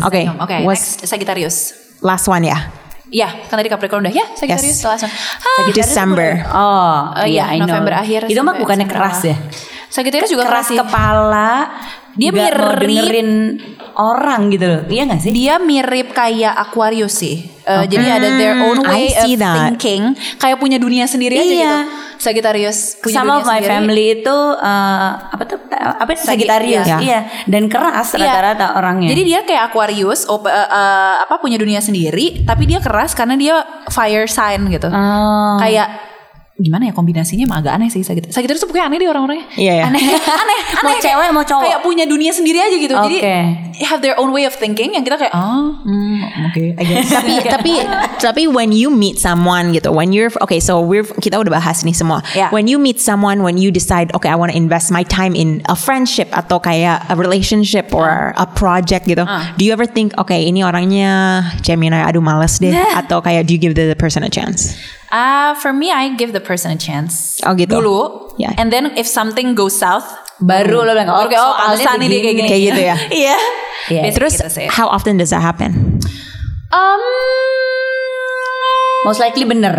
Speaker 1: Okay.
Speaker 2: Oke,
Speaker 1: Was
Speaker 2: next Sagittarius.
Speaker 1: last one? Yeah.
Speaker 2: Ya, kan tadi Capricorn udah. Ya, Sagittarius
Speaker 1: Yes.
Speaker 2: langsung. Ah,
Speaker 1: December.
Speaker 3: Oh,
Speaker 2: Oh iya,
Speaker 3: I know.
Speaker 2: November akhir.
Speaker 3: Itu mah
Speaker 2: sampai
Speaker 3: bukannya
Speaker 2: September.
Speaker 3: keras ya.
Speaker 2: Sagittarius juga
Speaker 3: Keras
Speaker 2: keras, sih.
Speaker 3: kepala.
Speaker 2: Dia
Speaker 3: nggak mau
Speaker 2: mirip-
Speaker 3: dengerin orang gitu loh. Iya gak sih?
Speaker 2: Dia mirip kayak Aquarius sih. Uh, Jadi ada their own
Speaker 1: Hmm,
Speaker 2: way
Speaker 1: I see
Speaker 2: of
Speaker 1: that.
Speaker 2: thinking. Kayak punya dunia sendiri aja
Speaker 3: Iya.
Speaker 2: gitu. Sagittarius punya
Speaker 3: Sama
Speaker 2: dunia
Speaker 3: my
Speaker 2: sendiri.
Speaker 3: family itu eh, apa tuh apa itu
Speaker 2: Sagi-
Speaker 3: Sagittarius
Speaker 1: iya.
Speaker 3: iya dan keras
Speaker 2: Iya.
Speaker 3: rata-rata orangnya.
Speaker 2: Jadi dia kayak Aquarius, op- uh, uh, apa punya dunia sendiri, tapi dia keras karena dia fire sign gitu.
Speaker 3: Oh.
Speaker 2: Kayak gimana ya kombinasinya emang agak aneh sih Sagittarius. Sagittarius tuh pokoknya aneh deh orang-orangnya.
Speaker 1: Iya, iya.
Speaker 2: Aneh, [laughs] aneh, aneh.
Speaker 3: Mau cewek, mau cowok.
Speaker 2: Kayak punya dunia sendiri aja gitu. Jadi
Speaker 3: Oke.
Speaker 2: have their own way of thinking yang kita kayak oh, hmm,
Speaker 1: okay, I guess. [laughs] tapi
Speaker 2: Iya.
Speaker 1: tapi tapi when you meet someone gitu, when you're okay, so we're kita udah bahas nih semua.
Speaker 2: Yeah.
Speaker 1: When you meet someone, when you decide, okay, I want to invest my time in a friendship atau kayak a relationship or
Speaker 2: Iya.
Speaker 1: a project gitu,
Speaker 2: Ah.
Speaker 1: do you ever think, okay, ini orangnya Gemini, aduh males deh, atau kayak do you give the person a chance?
Speaker 2: Ah, for me, I give the person a chance.
Speaker 1: Oh, gitu.
Speaker 2: Dulu.
Speaker 1: Yeah.
Speaker 2: And then if something goes south,
Speaker 3: Baru lo bilang,
Speaker 2: oke,
Speaker 3: "Oke,
Speaker 2: oh,
Speaker 3: soalnya
Speaker 2: alasan ini dia kayak gini.
Speaker 3: begini."
Speaker 1: Kayak gitu ya?
Speaker 2: [laughs] Iya.
Speaker 3: Iya.
Speaker 2: Biasanya
Speaker 1: Terus
Speaker 2: gitu sih.
Speaker 1: how often does that happen?
Speaker 2: Um,
Speaker 3: Most likely bener.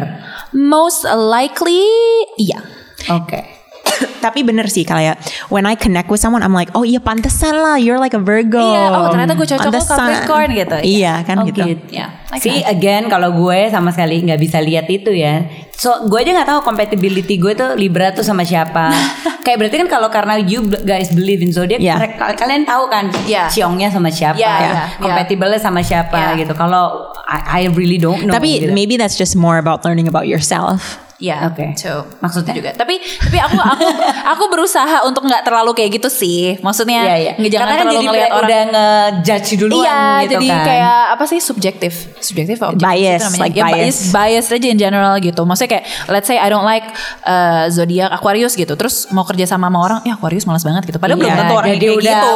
Speaker 2: most likely, iya.
Speaker 3: Oke.
Speaker 1: Tapi bener sih kayak when I connect with someone I'm like oh iya pantesan lah you're like a Virgo.
Speaker 2: Iya, oh, ternyata gue cocok lo
Speaker 1: Pantesan.
Speaker 2: Capricorn gitu.
Speaker 1: Iya kan
Speaker 3: Oh,
Speaker 1: gitu.
Speaker 3: gitu.
Speaker 2: Yeah, I
Speaker 3: See again kalau gue sama sekali nggak bisa lihat itu ya. So gue aja nggak tahu compatibility gue tuh Libra tuh sama
Speaker 2: [laughs]
Speaker 3: siapa. Kayak berarti kan kalau karena you guys believe in zodiac,
Speaker 2: Ya.
Speaker 1: Yeah.
Speaker 3: mereka- kalian tahu kan
Speaker 2: Yeah.
Speaker 3: ciongnya sama siapa,
Speaker 2: Yeah,
Speaker 3: compatible
Speaker 2: yeah,
Speaker 3: sama siapa
Speaker 2: Yeah.
Speaker 3: gitu. Kalau I, I really don't know.
Speaker 1: Tapi
Speaker 3: gitu.
Speaker 1: maybe that's just more about learning about yourself.
Speaker 2: Iya,
Speaker 3: Oke.
Speaker 2: tuh.
Speaker 3: Maksudnya?
Speaker 2: juga. Tapi tapi aku
Speaker 3: [laughs]
Speaker 2: aku aku berusaha untuk nggak terlalu kayak gitu sih. Maksudnya
Speaker 3: Iya, iya.
Speaker 2: nggak- jangan
Speaker 3: Karena kan
Speaker 2: terlalu
Speaker 3: jadi
Speaker 2: ngelihat orang.
Speaker 3: udah ngejudge duluan
Speaker 2: iya,
Speaker 3: gitu
Speaker 2: jadi
Speaker 3: kan.
Speaker 2: kayak apa sih subjektif, subjektif apa objektif
Speaker 1: Bias,
Speaker 2: itu namanya?
Speaker 1: like
Speaker 2: Ya,
Speaker 1: bias.
Speaker 2: bias aja in general gitu. Maksudnya kayak let's say I don't like uh, zodiak Aquarius gitu. Terus mau kerja sama sama orang, ya Aquarius malas banget gitu. Padahal belum
Speaker 1: Iya,
Speaker 2: tentu orangnya
Speaker 3: jadi
Speaker 2: kayak
Speaker 3: udah
Speaker 2: gitu.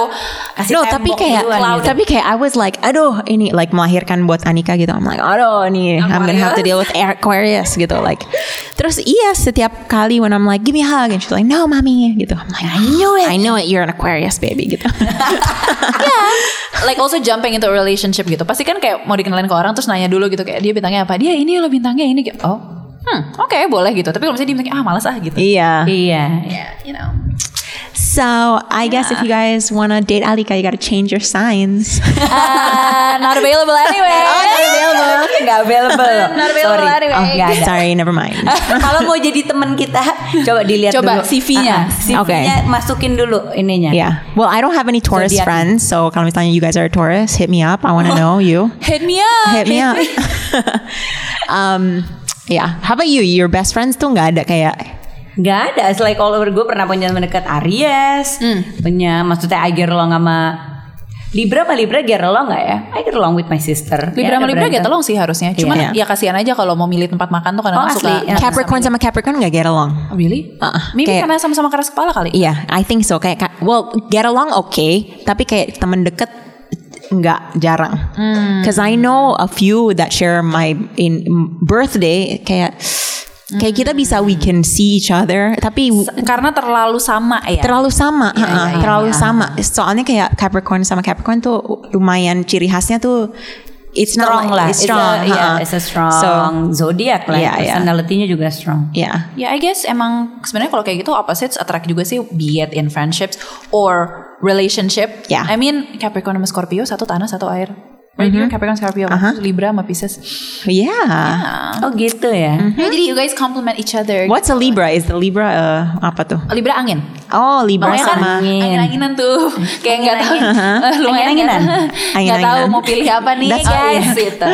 Speaker 3: kasih
Speaker 1: no, tapi
Speaker 3: tembok
Speaker 1: kayak
Speaker 3: duluan gitu.
Speaker 1: tapi kayak I was like aduh ini like melahirkan buat Anika gitu. I'm like aduh nih I'm gonna have to deal with Aquarius gitu like. Terus iya setiap kali when I'm like give me a hug and she's like no mommy gitu. I'm like I knew it. I know it you're an Aquarius baby gitu. [laughs]
Speaker 2: like also jumping into a relationship gitu. Pasti kan kayak mau dikenalin ke orang terus nanya dulu gitu kayak dia bintangnya apa? Dia ini loh bintangnya ini gitu. Oh. Hmm, oke boleh gitu. Tapi kalau misalnya dia bilang ah malas ah gitu.
Speaker 1: Iya.
Speaker 3: Iya.
Speaker 2: Yeah, you know.
Speaker 1: So I guess if you guys want to date Alika, you got to change your [laughs] signs.
Speaker 2: Uh,
Speaker 3: Ah,
Speaker 2: not available [laughs] anyway.
Speaker 3: available. Nggak available.
Speaker 2: Oh, [laughs] Not available
Speaker 3: Sorry.
Speaker 2: anyway.
Speaker 3: Oh, nggak ada.
Speaker 1: Sorry, never mind.
Speaker 3: [laughs] Kalau mau jadi teman kita, coba dilihat
Speaker 2: Coba
Speaker 3: dulu.
Speaker 2: CV-nya.
Speaker 3: Ah, ah, CV-nya
Speaker 1: Oke.
Speaker 3: masukin dulu ininya.
Speaker 2: Iya.
Speaker 1: yeah. Well, I don't have any Taurus
Speaker 3: Zodiac.
Speaker 1: friends, so kalau misalnya you guys are a Taurus, hit me up. I want to [laughs] know you.
Speaker 2: Hit me up.
Speaker 1: Hit me [laughs]
Speaker 2: [laughs]
Speaker 1: up. um, yeah. How about you? Your best friends tuh nggak ada kayak
Speaker 3: Nggak ada. It's like all over gue pernah punya teman dekat Aries,
Speaker 2: Hmm.
Speaker 3: punya maksudnya I get along sama Libra sama Libra get along nggak ya? I get along with my sister. Ya,
Speaker 2: Libra
Speaker 3: ada
Speaker 2: sama Libra
Speaker 3: berantem.
Speaker 2: get along sih harusnya. Cuman
Speaker 1: Iya.
Speaker 2: ya kasihan aja kalau mau milih tempat makan tuh kadang-kadang
Speaker 3: Oh,
Speaker 2: suka.
Speaker 3: asli. Yeah.
Speaker 1: Capricorn sama Capricorn nggak get along.
Speaker 2: Oh, really?
Speaker 1: Uh-uh.
Speaker 2: Maybe
Speaker 1: Kayak-
Speaker 2: karena sama-sama keras kepala kali.
Speaker 1: Yeah, I think so. Kayak ka- well, get along okay, tapi kayak temen deket nggak jarang. Cause I know a few that share my in birthday kayak kayak kita bisa we can see each other, tapi w-
Speaker 2: Karena terlalu sama ya.
Speaker 1: terlalu sama, ha-ha,
Speaker 3: iya, iya,
Speaker 1: terlalu
Speaker 3: iya.
Speaker 1: sama. Soalnya kayak Capricorn sama Capricorn tuh lumayan ciri khasnya tuh it's not
Speaker 3: strong
Speaker 1: like-
Speaker 3: lah.
Speaker 1: it's strong.
Speaker 3: It's a, yeah,
Speaker 1: ha-ha.
Speaker 3: it's a strong
Speaker 1: So,
Speaker 3: zodiac lah.
Speaker 1: Yeah, yeah.
Speaker 3: Personality-nya juga strong.
Speaker 1: yeah.
Speaker 2: Ya, I guess emang sebenarnya kalau kayak gitu opposites attract juga sih, be it in friendships or relationship.
Speaker 1: Ya. Mm-hmm.
Speaker 2: I mean Capricorn sama Scorpio satu tanah satu air. Right? You're Capricorn Scorpio,
Speaker 1: Uh-huh.
Speaker 2: terus Libra sama Pisces.
Speaker 1: Yeah.
Speaker 2: Hmm.
Speaker 3: Oh gitu ya.
Speaker 1: Mm-hmm.
Speaker 2: Ya, jadi you guys complement each other.
Speaker 1: What's a Libra? Is the Libra uh, apa tuh?
Speaker 2: Libra angin.
Speaker 1: Oh, Libra
Speaker 3: ya
Speaker 2: Makanya kan
Speaker 1: sama
Speaker 3: angin.
Speaker 2: angin-anginan
Speaker 1: [laughs]
Speaker 2: tuh [laughs] kayak nggak tahu Eh, [laughs] lumayan
Speaker 3: Angin-anginan.
Speaker 2: nggak tahu
Speaker 1: Angin-anginan.
Speaker 2: mau pilih
Speaker 1: [laughs]
Speaker 2: apa nih
Speaker 1: That's
Speaker 2: guys
Speaker 1: all,
Speaker 2: gitu.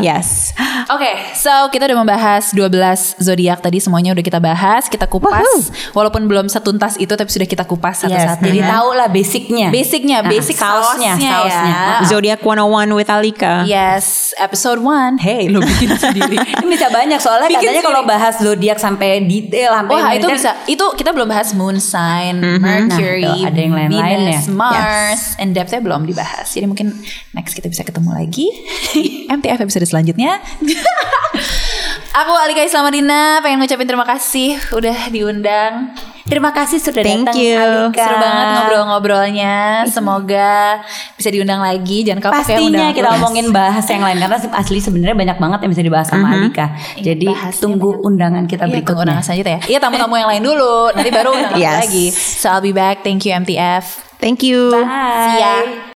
Speaker 1: Yes.
Speaker 3: Ah.
Speaker 2: Oke, so kita udah membahas 12 zodiak tadi semuanya udah kita bahas, kita kupas. Walaupun belum setuntas itu tapi sudah kita kupas
Speaker 3: Yes,
Speaker 2: satu-satu.
Speaker 3: jadi tahu lah basicnya.
Speaker 2: Basicnya,
Speaker 3: Ah,
Speaker 2: basic Eh, sausnya,
Speaker 3: sausnya.
Speaker 2: ya.
Speaker 3: Ah.
Speaker 1: Zodiac 101 with Alika.
Speaker 3: Iya.
Speaker 2: Yes, episode 1. Hey, lo bikin [laughs] sendiri.
Speaker 3: Ini bisa banyak soalnya
Speaker 2: Bikin
Speaker 3: katanya
Speaker 2: sendiri.
Speaker 3: kalau bahas zodiak sampai detail sampai
Speaker 2: Wah itu
Speaker 3: mendetail,
Speaker 2: bisa Itu kita belum bahas Moon sign Mercury
Speaker 3: Nah, itu ada yang lain-lain
Speaker 2: Venus,
Speaker 3: ya.
Speaker 2: Mars And depthnya belum dibahas Jadi mungkin Next kita bisa ketemu lagi [laughs] di MTF episode selanjutnya [laughs] Aku Alika Islamadina Pengen ngucapin terima kasih Udah diundang
Speaker 3: Terima kasih sudah
Speaker 1: Thank
Speaker 3: datang
Speaker 1: you.
Speaker 3: Alika.
Speaker 2: Seru banget [laughs] ngobrol-ngobrolnya Semoga Bisa diundang lagi Jangan kapok ya undang
Speaker 3: Pastinya
Speaker 2: aku.
Speaker 3: kita
Speaker 2: Yes.
Speaker 3: ngomongin bahas yang lain karena asli sebenarnya banyak banget yang bisa dibahas sama Alika. Jadi
Speaker 2: bahasnya
Speaker 3: tunggu undangan kita
Speaker 2: Mm-hmm. Iya, tunggu
Speaker 3: berikutnya.
Speaker 2: undangan selanjutnya ya Iya tamu-tamu yang lain dulu Nanti baru undangan aku
Speaker 1: Yes.
Speaker 2: lagi So I'll be back Thank you MTF
Speaker 1: Thank you.
Speaker 3: Bye.
Speaker 2: See ya